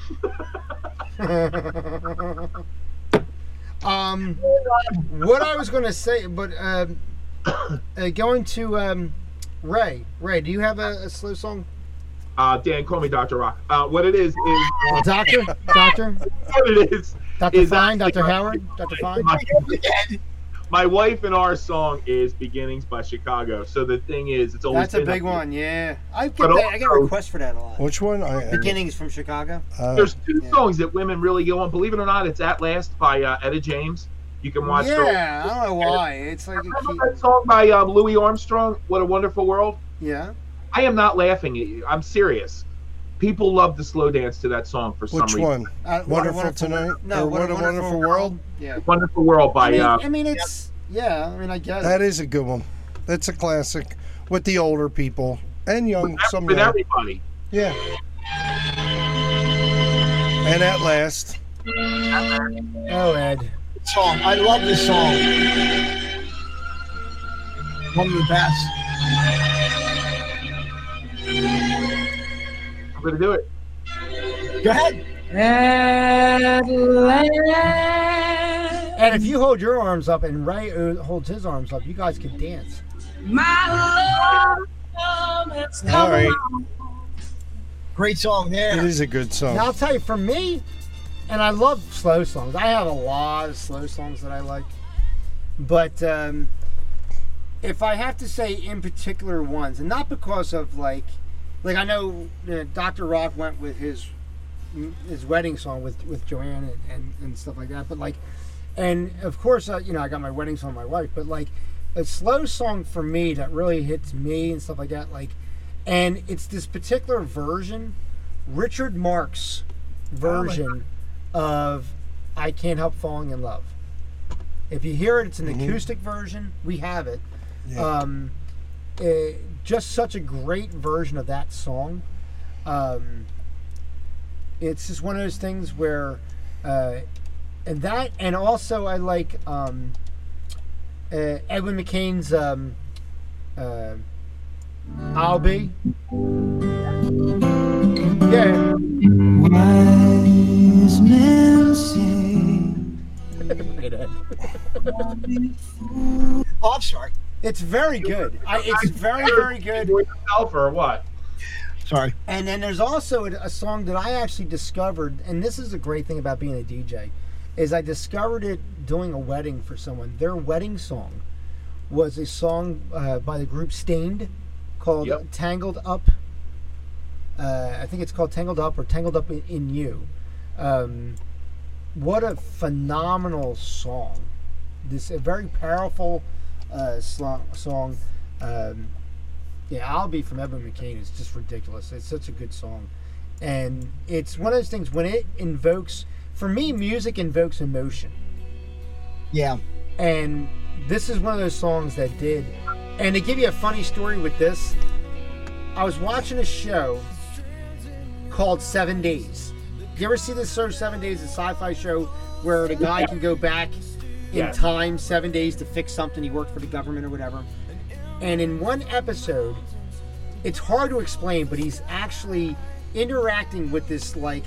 Speaker 2: Um, what I was going to say, but um, uh, going to um, Ray. Ray, do you have a, a slow song?
Speaker 4: Uh, Dan, call me Doctor Rock. Uh, what it is is
Speaker 2: Doctor, doctor,
Speaker 4: what it is.
Speaker 2: Doctor
Speaker 4: Oh, Is that-
Speaker 2: Fine, Doctor Howard, Doctor Fine.
Speaker 4: My, my wife and our song is "Beginnings" by Chicago. So the thing is, it's always
Speaker 10: That's a
Speaker 4: been-
Speaker 10: big one. Yeah, I get
Speaker 4: But
Speaker 10: that. I get
Speaker 4: also-
Speaker 10: requests for that a lot.
Speaker 3: Which one? I, uh, I-
Speaker 10: Beginnings from Chicago.
Speaker 3: uh,
Speaker 4: There's two
Speaker 10: Yeah.
Speaker 4: songs that women really go on. Believe it or not, it's "At Last" by uh, Etta James. You can watch. her-
Speaker 10: Yeah, I don't know why. It's like a key,
Speaker 4: Remember that song by um, Louis Armstrong? What a Wonderful World.
Speaker 10: yeah. Uh,
Speaker 4: I am not laughing at you. I'm serious. People love to slow dance to that song for some
Speaker 3: which
Speaker 4: reason.
Speaker 3: one?
Speaker 10: Uh,
Speaker 3: Wonderful, Tonight?
Speaker 10: No,
Speaker 3: or
Speaker 10: what, a wonderful, world. Yeah.
Speaker 4: Wonderful World by
Speaker 10: I mean,
Speaker 4: uh,
Speaker 10: I mean, it's yeah. I mean, I guess
Speaker 3: That is a good one. That's a classic with the older people and young, some
Speaker 4: with
Speaker 3: young.
Speaker 4: everybody.
Speaker 3: Yeah. And at last,
Speaker 2: Oh, Ed.
Speaker 6: song. I love this song. One of the best.
Speaker 4: I'm gonna do it.
Speaker 6: Go ahead.
Speaker 2: And if you hold your arms up and Ray uh, holds his arms up, you guys can dance.
Speaker 3: all right,
Speaker 6: Great song
Speaker 3: it
Speaker 6: there.
Speaker 3: is a good song.
Speaker 2: Now I'll tell you, for me, and I love slow songs. I have a lot of slow songs that I like, but um, if I have to say in particular ones, and not because of like, like I know uh, Dr. Rock went with his his wedding song with with Joanne and, and, and stuff like that, but like, and of course uh, you know I got my wedding song, with my wife, but like a slow song for me that really hits me and stuff like that, like, and it's this particular version. Richard Marx version of I Can't Help Falling in Love. If you hear it, it's an acoustic version. We have it.
Speaker 3: Yeah.
Speaker 2: Um, eh, just such a great version of that song. Um, it's just one of those things where, uh, and that, and also I like um, uh, Edwin McCain's um, uh, I'll Be. Yeah.
Speaker 7: Wise men say
Speaker 6: Oh, I'm sorry.
Speaker 2: It's very good. I, it's very, very good.
Speaker 4: Enjoy yourself or what?
Speaker 6: Sorry.
Speaker 2: And then there's also a, a song that I actually discovered, and this is a great thing about being a DJ, is I discovered it doing a wedding for someone. Their wedding song was a song uh, by the group Stained called
Speaker 4: Yep.
Speaker 2: Tangled Up. Uh, I think it's called Tangled Up or Tangled Up in, in You. Um, what a phenomenal song. This a very powerful uh, slo- song. Um, yeah, I'll Be from Evan McCain is just ridiculous. It's such a good song. And it's one of those things when it invokes, for me, music invokes emotion.
Speaker 6: Yeah.
Speaker 2: And this is one of those songs that did. And to give you a funny story with this, I was watching a show called Seven Days. You ever see this show, Seven Days, a sci fi show where the guy can go back in
Speaker 4: Yeah.
Speaker 2: time seven days to fix something? He worked for the government or whatever. And in one episode, it's hard to explain, but he's actually interacting with this like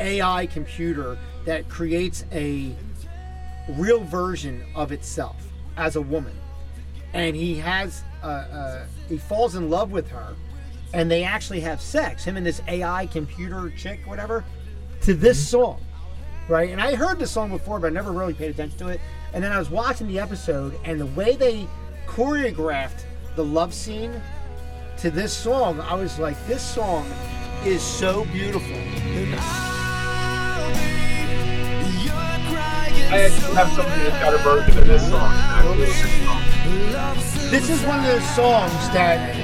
Speaker 2: AI computer that creates a real version of itself as a woman. And he has, uh, uh, he falls in love with her, and they actually have sex, him and this AI computer chick, whatever, to this song, right? And I heard this song before, but I never really paid attention to it. And then I was watching the episode, and the way they choreographed the love scene to this song, I was like, this song is so beautiful.
Speaker 4: I actually have somebody that's got a version of this song. Actually, it's this song.
Speaker 2: This is one of those songs that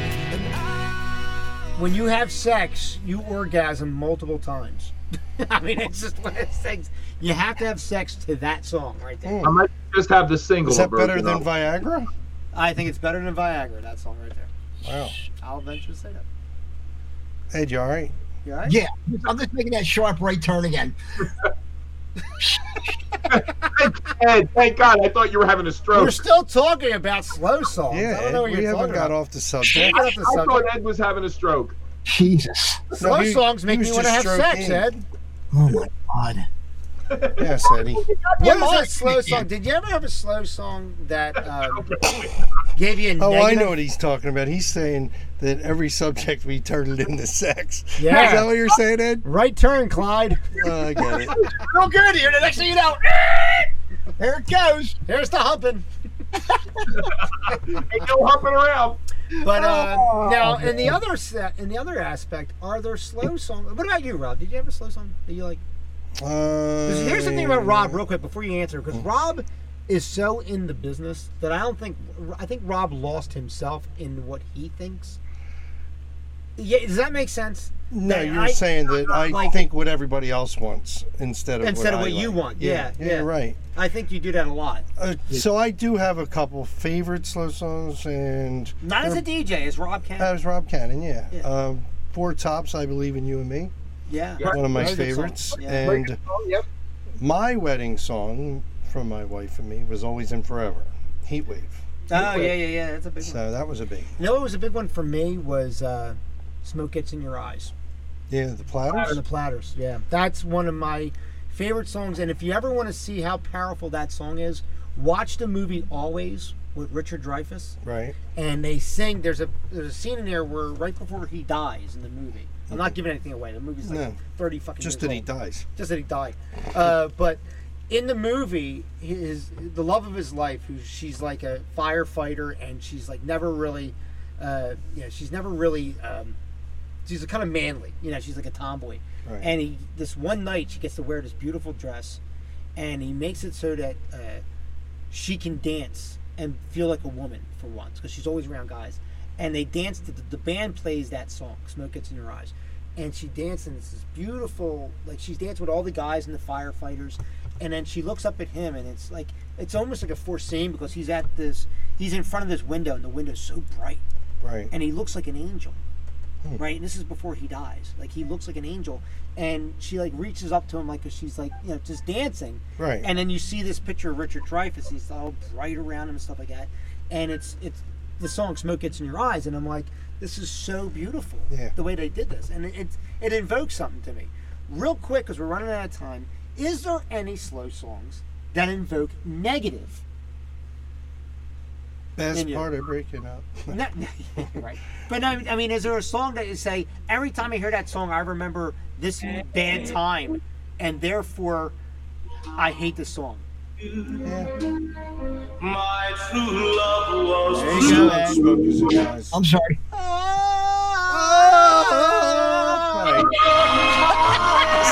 Speaker 2: when you have sex, you orgasm multiple times. I mean, it's just one of those things. You have to have sex to that song right there.
Speaker 4: I might just have the single.
Speaker 3: Is that better
Speaker 4: version
Speaker 3: than
Speaker 4: of it.
Speaker 3: Viagra?
Speaker 2: I think it's better than Viagra, that song right there.
Speaker 3: Wow.
Speaker 2: I'll venture to say that.
Speaker 3: Ed, you all right?
Speaker 2: You alright?
Speaker 6: Yeah, I'm just making that sharp right turn again.
Speaker 4: Ed, thank God! I thought you were having a stroke.
Speaker 2: We're still talking about slow songs.
Speaker 3: Yeah,
Speaker 2: I don't
Speaker 3: Ed,
Speaker 2: know what
Speaker 3: we
Speaker 2: you're
Speaker 3: haven't
Speaker 2: talking
Speaker 3: got
Speaker 2: about.
Speaker 3: off the subject.
Speaker 2: Get off the
Speaker 4: I thought
Speaker 2: subject.
Speaker 4: Ed was having a stroke.
Speaker 6: Jesus.
Speaker 2: Slow
Speaker 3: No, he-
Speaker 2: songs
Speaker 3: he
Speaker 2: make
Speaker 3: was
Speaker 2: me want to
Speaker 3: just
Speaker 2: have
Speaker 3: stroked
Speaker 2: sex,
Speaker 3: in.
Speaker 2: Ed.
Speaker 6: Oh my God.
Speaker 3: Yes, Eddie.
Speaker 2: What is that slow song? Did you ever have a slow song that um, gave you a
Speaker 3: Oh,
Speaker 2: negative?
Speaker 3: I know what he's talking about. He's saying that every subject we turned it into sex.
Speaker 2: Yeah.
Speaker 3: Is that what you're saying, Ed?
Speaker 2: Right turn, Clyde.
Speaker 3: Oh, I get it.
Speaker 6: Real good here. The next thing you know, there it goes.
Speaker 2: Here's the humping.
Speaker 4: Ain't no humping around.
Speaker 2: But uh, now, in the other se- in the other aspect, are there slow songs? What about you, Rob? Did you have a slow song that you like?
Speaker 3: Uh,
Speaker 2: 'Cause Here's something
Speaker 3: Um,
Speaker 2: about Rob, real quick, before you answer, because Rob is so in the business that I don't think I think Rob lost himself in what he thinks. Yeah, does that make sense?
Speaker 3: No,
Speaker 2: That
Speaker 3: you're
Speaker 2: I-
Speaker 3: saying that I
Speaker 2: like-
Speaker 3: think what everybody else wants instead of
Speaker 2: Instead of
Speaker 3: I
Speaker 2: what you
Speaker 3: like.
Speaker 2: want. Yeah,
Speaker 3: yeah,
Speaker 2: yeah.
Speaker 3: you're right.
Speaker 2: I think you do that a lot.
Speaker 3: Uh, so I do have a couple favorite slow songs, and
Speaker 2: Not as a DJ, as Rob can.
Speaker 3: that was Rob Cannon. Yeah,
Speaker 2: Yeah.
Speaker 3: Um, Four Tops, I believe in you and me,
Speaker 2: yeah.
Speaker 3: one of my
Speaker 2: Very good song.
Speaker 3: favorites,
Speaker 2: Yeah.
Speaker 3: and
Speaker 4: Yep.
Speaker 3: my wedding song from my wife and me was always in forever, Heat Wave.
Speaker 2: Oh yeah, yeah, yeah. That's a big one.
Speaker 3: So that was a big.
Speaker 2: You know, what was a big one for me was uh, "Smoke Gets in Your Eyes."
Speaker 3: Yeah, the
Speaker 2: Or the
Speaker 3: platters.
Speaker 2: Platters. Yeah, that's one of my favorite songs. And if you ever want to see how powerful that song is, watch the movie Always with Richard Dreyfuss,
Speaker 3: Right.
Speaker 2: and they sing. There's a there's a scene in there where right before he dies in the movie. I'm not giving anything away. The movie's like
Speaker 3: No.
Speaker 2: thirty fucking.
Speaker 3: Just
Speaker 2: years
Speaker 3: that he
Speaker 2: old.
Speaker 3: dies.
Speaker 2: Just that he died. Uh, but in the movie, his the love of his life, who she's like a firefighter, and she's like never really, uh, you know, she's never really, um, she's a kind of manly, you know, she's like a tomboy.
Speaker 3: Right.
Speaker 2: And he, this one night, she gets to wear this beautiful dress, and he makes it so that uh, she can dance and feel like a woman for once, because she's always around guys. And they dance. The, the band plays that song, "Smoke Gets in Your Eyes," and she dances. And it's this beautiful, like she's dancing with all the guys and the firefighters, and then she looks up at him, and it's like it's almost like a forced scene because he's at this, he's in front of this window, and the window's so bright,
Speaker 3: Right. Hmm.
Speaker 2: and he looks like an angel right and this is before he dies like he looks like an angel and she like reaches up to him like 'cause she's like you know just dancing
Speaker 3: Right.
Speaker 2: and then you see this picture of richard dreyfuss he's all bright around him and stuff like that and it's it's the song smoke gets in your eyes and i'm like this is so beautiful
Speaker 3: Yeah.
Speaker 2: the way they did this and it it, it invokes something to me real quick because we're running out of time is there any slow songs that invoke negative
Speaker 3: Best
Speaker 2: and you-
Speaker 3: part of breaking up.
Speaker 2: No, no, right. But I, I mean, is there a song that you say every time I hear that song, I remember this bad time, and therefore I hate this song?
Speaker 3: Yeah.
Speaker 11: My true love was
Speaker 3: Smoke is in your eyes.
Speaker 6: I'm sorry.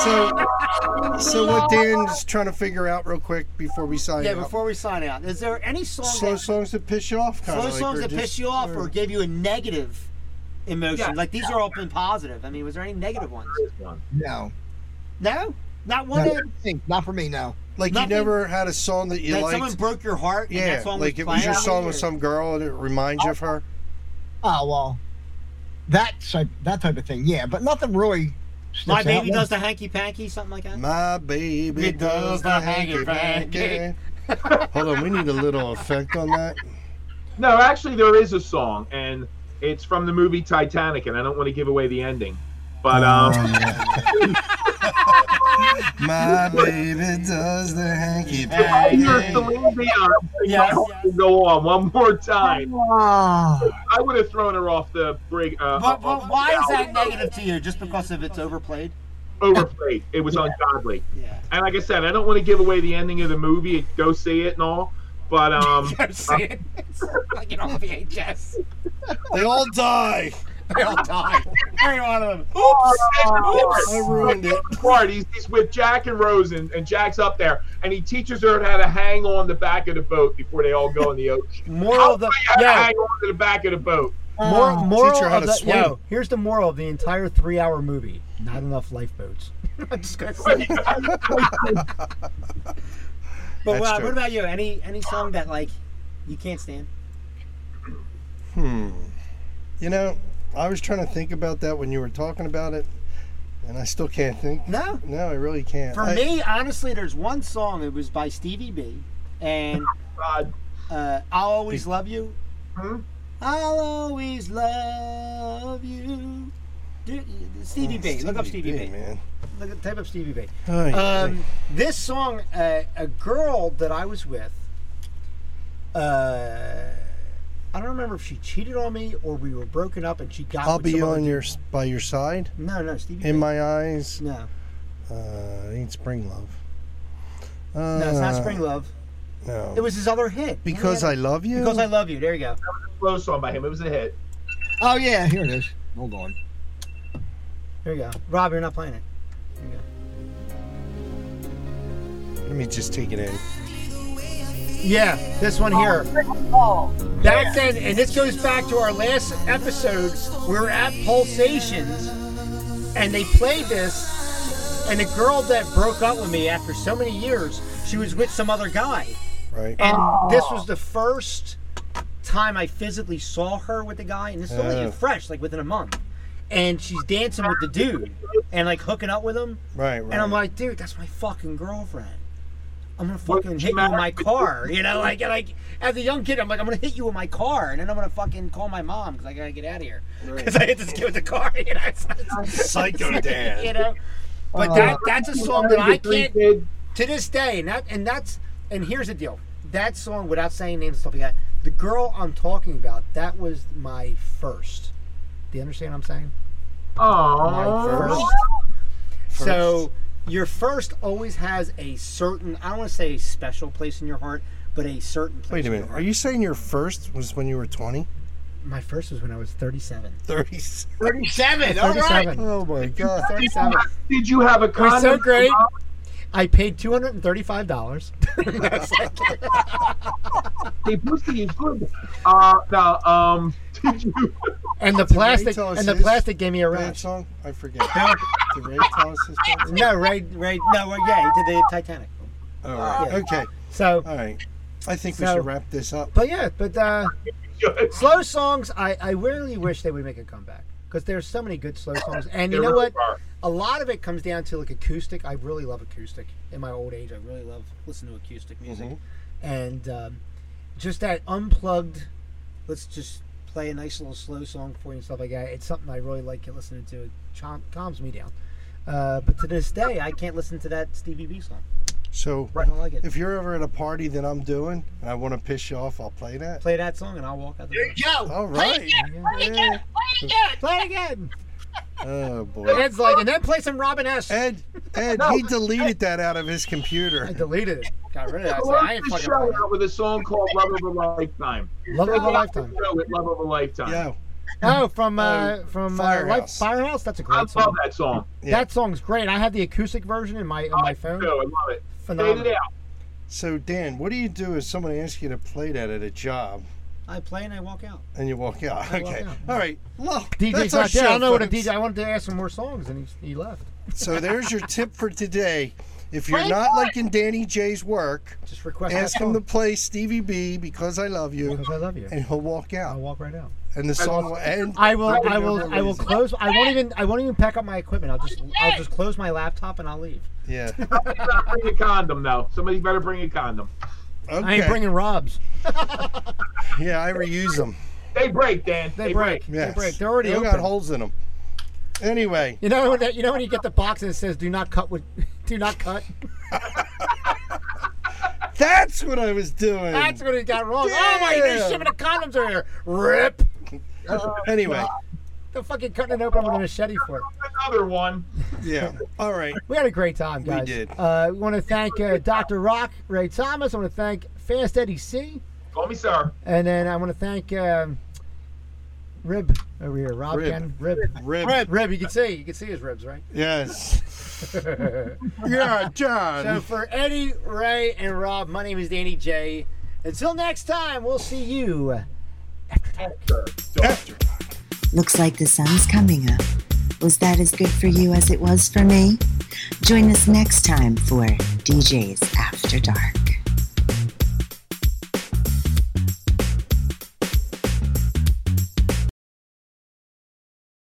Speaker 3: so, so what Dan's trying to figure out real quick before we sign
Speaker 2: Yeah.
Speaker 3: out.
Speaker 2: Before we sign out, is there any song
Speaker 3: Oh, slow
Speaker 2: that,
Speaker 3: songs that piss you off, kind
Speaker 2: slow
Speaker 3: of like,
Speaker 2: songs
Speaker 3: or
Speaker 2: that
Speaker 3: just-
Speaker 2: piss you off or give you a negative emotion?
Speaker 4: Yeah.
Speaker 2: Like these are all been positive. I mean, was there any negative ones?
Speaker 4: There is one.
Speaker 6: No.
Speaker 2: No. Not one
Speaker 6: Not,
Speaker 2: that
Speaker 6: not for me, no.
Speaker 3: Like
Speaker 2: Nothing-
Speaker 3: you never had a song that you
Speaker 2: that
Speaker 3: liked.
Speaker 2: someone broke your heart. and
Speaker 3: yeah,
Speaker 2: that song
Speaker 3: like
Speaker 2: was
Speaker 3: it was your
Speaker 2: playing?
Speaker 3: song with some girl and it reminds you of her.
Speaker 6: Oh well, that type that type of thing, yeah. But nothing really.
Speaker 2: My
Speaker 6: sticks
Speaker 2: baby
Speaker 6: out.
Speaker 2: does the hanky panky, something like that.
Speaker 3: My baby
Speaker 2: It does
Speaker 3: does the
Speaker 2: the
Speaker 3: hanky panky.
Speaker 2: hanky-panky.
Speaker 3: Hold on, we need a little effect on that.
Speaker 4: No, actually, there is a song, and it's from the movie Titanic, and I don't want to give away the ending, but um,
Speaker 3: My baby does the hanky
Speaker 4: if I hear
Speaker 3: panky.
Speaker 4: Celine Dion,
Speaker 2: Yes,
Speaker 4: my heart
Speaker 2: yes.
Speaker 4: will go on one more time.
Speaker 6: Ah,
Speaker 4: I would have thrown her off the brig. Uh,
Speaker 2: But,
Speaker 4: off-
Speaker 2: but why is that negative to you? Just because if it's overplayed?
Speaker 4: Overplayed. It was ungodly.
Speaker 2: Yeah.
Speaker 4: And like I said, I don't want to give away the ending of the movie. Go see it and all, but um,
Speaker 2: it. like it on VHS.
Speaker 3: They all die.
Speaker 2: They all die. Every one of them.
Speaker 3: I ruined it.
Speaker 4: Bart, he's, he's with Jack and Rose, and, and Jack's up there, and he teaches her how to hang on the back of the boat before they all go in the ocean.
Speaker 2: Moral of the
Speaker 4: How to
Speaker 2: yeah.
Speaker 4: hang on to the back of the boat.
Speaker 2: Moral, moral
Speaker 3: Oh, Teach her how
Speaker 2: of
Speaker 3: to
Speaker 2: the,
Speaker 3: swim.
Speaker 2: yo, here's the moral of the entire three-hour movie: not enough lifeboats. I'm just gonna say. But
Speaker 3: That's
Speaker 2: uh,
Speaker 3: true.
Speaker 2: what about you? Any any song that like you can't stand?
Speaker 3: Hmm. You know, I was trying to think about that when you were talking about it, and I still can't think.
Speaker 2: No.
Speaker 3: No, I really can't.
Speaker 2: For
Speaker 3: I-
Speaker 2: me, honestly, there's one song. It was by Stevie B, and
Speaker 4: Uh,
Speaker 2: uh, "I'll Always Love You."
Speaker 4: Hmm?
Speaker 2: I'll always love you. Dude, Stevie B.
Speaker 3: Oh,
Speaker 2: Look up Stevie B.
Speaker 3: man.
Speaker 2: Look at, type up Stevie B.
Speaker 3: Ay,
Speaker 2: Um, this song, uh, a girl that I was with, uh, I don't remember if she cheated on me or we were broken up and she got.
Speaker 3: I'll
Speaker 2: with
Speaker 3: be
Speaker 2: some other
Speaker 3: on
Speaker 2: dude.
Speaker 3: your s- by your side.
Speaker 2: No, no, Stevie.
Speaker 3: In
Speaker 2: B.
Speaker 3: my eyes,
Speaker 2: No,
Speaker 3: uh, it ain't spring love. Uh,
Speaker 2: no, it's not Spring Love.
Speaker 3: No.
Speaker 2: It was his other hit.
Speaker 3: because
Speaker 2: Yeah,
Speaker 3: I love you.
Speaker 2: Because I love you. There you go.
Speaker 4: slow song by him. It was a hit.
Speaker 6: oh yeah, here it is. Hold on.
Speaker 2: There you go. Rob, you're not playing it.
Speaker 3: Let me just take it in.
Speaker 2: Yeah, this one here. Back then, and this goes back to our last episode. We were at Pulsations, and they played this. And the girl that broke up with me after so many years, she was with some other guy.
Speaker 3: Right.
Speaker 2: And this was the first time I physically saw her with the guy, and this is only
Speaker 3: Oh.
Speaker 2: fresh, like within a month. And she's dancing with the dude and like hooking up with him.
Speaker 3: right. Right.
Speaker 2: And I'm like, dude, that's my fucking girlfriend. I'm gonna
Speaker 4: What
Speaker 2: fucking
Speaker 4: does
Speaker 2: hit you in
Speaker 4: matter?
Speaker 2: my car, you know? Like, like as a young kid, I'm like, I'm gonna hit you in my car, and then I'm gonna fucking call my mom because I gotta get out of here because I hit this kid with the car, you know? It's not-
Speaker 3: Psycho Dan.
Speaker 2: you know? But that that's a song that I can't
Speaker 4: Kid,
Speaker 2: to this day, and that and that's and here's the deal. That song, without saying names and stuff like that, the girl I'm talking about, that was my first. Do you understand what I'm saying?
Speaker 4: Aww.
Speaker 2: First. So your first always has a certain I don't want to say a special place in your heart, but a certain place.
Speaker 3: Wait
Speaker 2: in
Speaker 3: a
Speaker 2: your
Speaker 3: minute.
Speaker 2: heart.
Speaker 3: Are you saying your first was when you were 20?
Speaker 2: My first was when I was 37.
Speaker 3: 30.
Speaker 6: Thirty-seven. All right.
Speaker 2: 37.
Speaker 3: Oh my God.
Speaker 2: 37.
Speaker 4: Did you have a
Speaker 2: It
Speaker 4: condom?
Speaker 2: was so great. I paid $235.
Speaker 4: Hey, pussy is good. Uh, now, um, did you?
Speaker 2: and the
Speaker 3: Ray
Speaker 2: plastic
Speaker 3: tell us
Speaker 2: and the
Speaker 3: his
Speaker 2: plastic gave me a
Speaker 3: That
Speaker 2: rash.
Speaker 3: song? I forget. Did Ray tell us this song?
Speaker 2: No, right, right. No, well, yeah, he did the Titanic.
Speaker 3: All right.
Speaker 2: Yeah.
Speaker 3: Oh, Okay.
Speaker 2: So,
Speaker 3: All right. I think we
Speaker 2: So-
Speaker 3: should wrap this up.
Speaker 2: but yeah, but uh, slow songs, I, I really wish they would make a comeback because there's so many good slow songs. And you know what? A lot of it comes down to like acoustic. I really love acoustic. In my old age, I really love listening to acoustic music.
Speaker 3: Mhm.
Speaker 2: And um, just that unplugged, let's just play a nice little slow song for you and stuff like that. It's something I really like listening to. It chom- calms me down. Uh, but to this day, I can't listen to that Stevie B song.
Speaker 3: So
Speaker 2: I don't like it.
Speaker 3: if you're ever at a party that I'm doing and I want to piss you off, I'll play that.
Speaker 2: Play that song and I'll walk out the door.
Speaker 6: Yo.
Speaker 3: All right. Yeah.
Speaker 2: Play it again.
Speaker 3: Oh boy.
Speaker 2: Ed's like, and then play some Robin S. I
Speaker 3: Ed, Ed, he deleted that out of his computer.
Speaker 2: deleted it. Got rid of it. I was like, I
Speaker 4: Close
Speaker 2: ain't
Speaker 4: the
Speaker 2: fucking
Speaker 4: show
Speaker 2: playing
Speaker 4: out with a song called "Love of a Lifetime."
Speaker 2: it. Love of a lifetime.
Speaker 4: Show with "Love of a Lifetime."
Speaker 3: Yeah.
Speaker 2: Oh, from uh, from uh, Life,
Speaker 3: Firehouse.
Speaker 2: Firehouse. That's a
Speaker 4: I
Speaker 2: great
Speaker 4: love
Speaker 2: song.
Speaker 4: that song.
Speaker 3: Yeah.
Speaker 2: That song's great. I have the acoustic version in my in my phone.
Speaker 4: No, I love it. Fade it
Speaker 2: Phenomenal.
Speaker 4: out.
Speaker 3: So Dan, what do you do if someone asks you to play that at a job
Speaker 12: I play and I walk out.
Speaker 3: and you walk out.
Speaker 12: walk
Speaker 3: Okay.
Speaker 12: out.
Speaker 3: All right. Well,
Speaker 2: DJ's
Speaker 3: that's our
Speaker 2: not there. I don't
Speaker 3: show,
Speaker 2: know what a
Speaker 3: folks.
Speaker 2: DJ. I wanted to ask him more songs, and he, he left.
Speaker 3: So there's your tip for today. If you're not liking Danny J's work,
Speaker 2: Just request that
Speaker 3: ask him
Speaker 2: song.
Speaker 3: to play Stevie B because I love you,
Speaker 2: because I love you.
Speaker 3: and he'll walk
Speaker 2: I'll
Speaker 3: out,
Speaker 2: walk right out.
Speaker 3: and the song will end.
Speaker 2: I will.
Speaker 4: Right
Speaker 2: I
Speaker 4: now,
Speaker 2: will.
Speaker 4: no
Speaker 2: I will
Speaker 4: reason.
Speaker 2: close. I won't even. I won't even pack up my equipment. I'll just. I'll just close my laptop and I'll leave.
Speaker 3: Yeah.
Speaker 4: better bring a condom though. Somebody better bring a condom.
Speaker 2: I ain't
Speaker 3: Okay.
Speaker 2: bringing Rob's.
Speaker 3: Yeah, I reuse them.
Speaker 4: They break, Dan.
Speaker 2: They break.
Speaker 3: Yes.
Speaker 2: They break. They're already
Speaker 3: They all got
Speaker 2: open.
Speaker 3: holes in them. Anyway,
Speaker 2: You know when that, you know when you get the box and it says "Do not cut with, do not cut."
Speaker 3: that's what I was doing.
Speaker 2: That's what he got wrong. Oh my! There's
Speaker 3: Damn.
Speaker 2: shipment of condoms are here. Rip.
Speaker 3: Uh, anyway,
Speaker 2: The fucking cutting it open with a machete for.
Speaker 4: Another one.
Speaker 3: yeah. All right.
Speaker 2: We had a great time, guys.
Speaker 3: did.
Speaker 2: Uh, we want to thank uh, Dr. Rock, Ray Thomas. I want to thank Fast Eddie C.
Speaker 4: Call me sir.
Speaker 2: And then I want to thank um, Rib over here, Rob
Speaker 3: Rib.
Speaker 2: Ken. Rib.
Speaker 3: Rib.
Speaker 2: Rib. Rib. You can see. You can see his ribs, right?
Speaker 3: Yes. yeah, John.
Speaker 2: So for Eddie, Ray, and Rob, my name is Danny J. Until next time, we'll see you.
Speaker 1: Looks like the sun's coming up. Was that as good for you as it was for me? Join us next time for DJ's After Dark.